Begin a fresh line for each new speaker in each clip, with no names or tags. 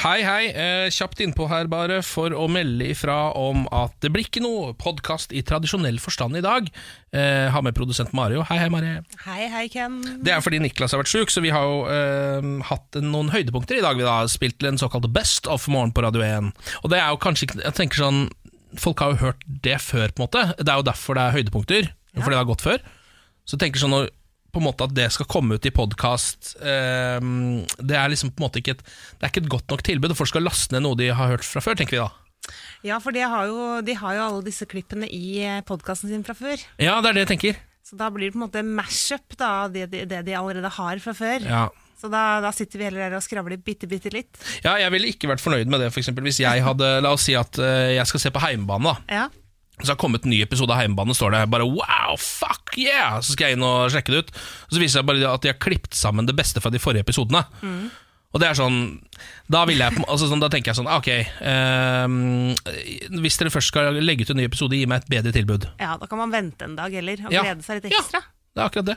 Hei, hei. Eh, kjapt innpå her, bare, for å melde ifra om at det blir ikke noe podkast i tradisjonell forstand i dag. Eh, har med produsent Mario. Hei, hei, Marie.
Hei, hei, Ken.
Det er fordi Niklas har vært sjuk, så vi har jo eh, hatt noen høydepunkter i dag. Vi har spilt til en såkalt Best of Morgen på Radio 1. Og det er jo kanskje ikke Jeg tenker sånn Folk har jo hørt det før, på en måte. Det er jo derfor det er høydepunkter. Fordi det har gått før. Så jeg tenker sånn når, på en måte at det skal komme ut i podkast Det er liksom på en måte ikke et, det er ikke et godt nok tilbud, og folk skal laste ned noe de har hørt fra før, tenker vi da.
Ja, for de har, jo, de har jo alle disse klippene i podkasten sin fra før.
Ja, det er det jeg tenker.
Så da blir det på en måte mash-up da, av det, de- det de allerede har fra før.
Ja.
Så da, da sitter vi heller her og skravler bitte, bitte litt.
ja, jeg ville ikke vært fornøyd med det, for eksempel hvis jeg hadde La oss si at eh, jeg skal se på Heimbane, da.
Ja.
Så har det kommet en ny episode av Heimebane, står det. Bare wow, fuck yeah! Så skal jeg inn og sjekke det ut. Og så viser det seg bare at de har klippet sammen det beste fra de forrige episodene. Og det er sånn Da, vil jeg, på- altså sånn, da tenker jeg sånn Ok, ehm, hvis dere først skal legge ut en ny episode, gi meg et bedre tilbud.
ja, da kan man vente en dag heller og
Ja.
glede seg litt ekstra.
Det er akkurat det.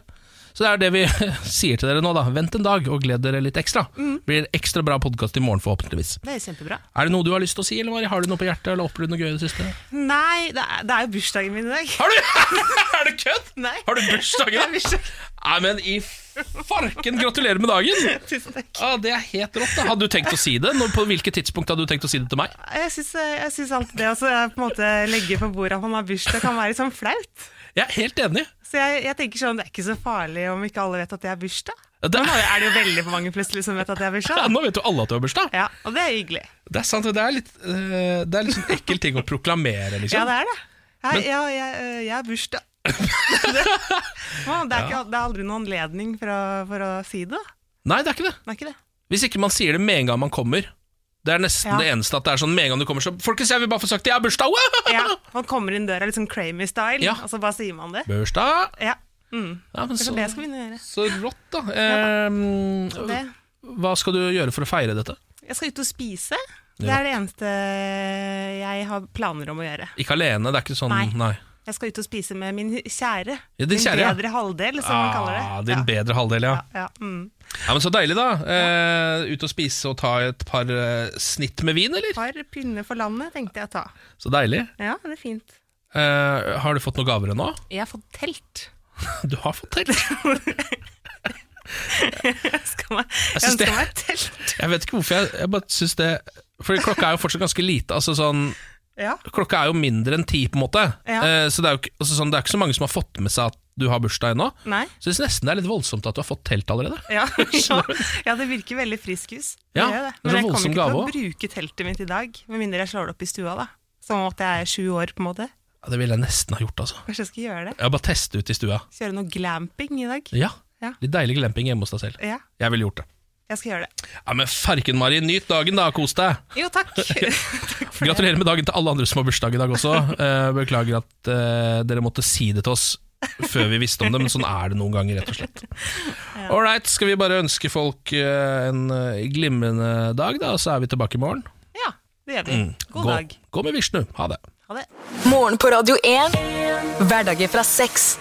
Så det er det vi sier til dere nå, da. Vent en dag og gled dere litt ekstra.
Mm.
Det blir en ekstra bra podkast i morgen, forhåpentligvis.
Det er jo kjempebra.
Er det noe du har lyst til å si, eller Mari? har du noe på hjertet? Eller opplevd noe gøy i det siste?
Nei, det er, det er jo bursdagen min i dag.
Har du? er det kødd?
Nei.
Har du bursdag i
Det er
dag?
bursdag.
Nei, men i farken, gratulerer med dagen!
Tusen takk.
Ah, det er helt rått. da Hadde du tenkt å si det? Når, på hvilket tidspunkt hadde du tenkt å si det til meg?
Jeg syns, jeg syns alltid det å så på en måte legge på bordet at man har bursdag, kan være litt sånn flaut.
Jeg er helt enig.
Så jeg, jeg tenker sånn, det er ikke så farlig om ikke alle vet at jeg har bursdag.
Det,
er det jo veldig mange plutselig som vet at jeg har
ja,
bursdag.
nå vet jo alle at du har bursdag.
Ja, og det er hyggelig.
Det er sant, det er litt, eh, det er litt sånn ekkel ting å proklamere,
Ja,
liksom.
det er det. Jeg, ja, jeg, øh, jeg har bursdag. det, Man, det, er ikke, det er aldri noen anledning for å, for å si det. da.
Nei, det er ikke det.
Det er ikke det.
Hvis ikke man sier det med en gang man kommer. Det er nesten
Ja.
det eneste at det er sånn med en gang du kommer så Folkens, jeg vil bare få sagt jeg har bursdag! Wow!
Ja, man kommer inn døra litt sånn Cramy-style,
Ja.
og så bare sier man det.
Bursdag!
Ja, mm.
Ja, men
Det
så,
er det jeg skal begynne å gjøre.
så rått, da. Eh,
Det.
hva skal du gjøre for å feire dette?
Jeg skal ut og spise. Det
Ja.
er det eneste jeg har planer om å gjøre.
Ikke alene, det er ikke sånn
Nei.
nei.
Jeg skal ut og spise med min kjære.
Ja, din
min
kjære, ja.
bedre halvdel, som man kaller det.
Ah, din bedre halvdel, ja.
ja. Ja, mm.
ja. men Så deilig, da. Eh, ut og spise og ta et par eh, snitt med vin, eller?
Par pinner for landet tenkte jeg å ta.
Så deilig.
Ja, det er fint.
Eh, har du fått noen gaver ennå?
Jeg har fått telt.
Du har fått telt.
Jeg ønsker meg, jeg
synes det-
ønsker meg et telt.
Jeg vet ikke hvorfor jeg, jeg bare syns det Fordi klokka er jo fortsatt ganske lite. Altså sånn
Ja.
Klokka er jo mindre enn ti, på en måte.
Ja.
Eh, så det er jo ikke, altså sånn, det er ikke så mange som har fått med seg at du har bursdag ennå.
Nei.
Så jeg syns nesten det er litt voldsomt at du har fått telt allerede.
Ja, ja. ja, det virker veldig friskus. Det
Ja,
gjør det.
det er så
Men jeg kommer
voldsom
ikke til å
gave
bruke teltet mitt i dag, med mindre jeg slår det opp i stua, da. Som om at jeg er sju år, på en måte.
Ja, det ville jeg nesten ha gjort, altså.
Kanskje jeg skal gjøre det?
Jeg har bare testet ut i stua.
Kjøre noe glamping i dag?
Ja.
Ja.
Litt deilig glamping hjemme hos deg selv.
Ja,
Jeg ville gjort det.
jeg skal gjøre det.
Ja, men farken, Mari. Nyt dagen, da. Kos deg.
Jo, takk. takk for det.
Gratulerer med dagen til alle andre som har bursdag i dag også. Eh, Beklager at eh, dere måtte si det til oss før vi visste om det, men sånn er det noen ganger, rett og slett. Ålreit, skal vi bare ønske folk eh, en eh, glimrende dag, da, og så er vi tilbake i morgen.
Ja, det gjør vi.
Mm.
God dag.
Gå, gå med Vishnu. Ha det.
Ha det.
Morgen på Radio 1. Hverdager fra seks.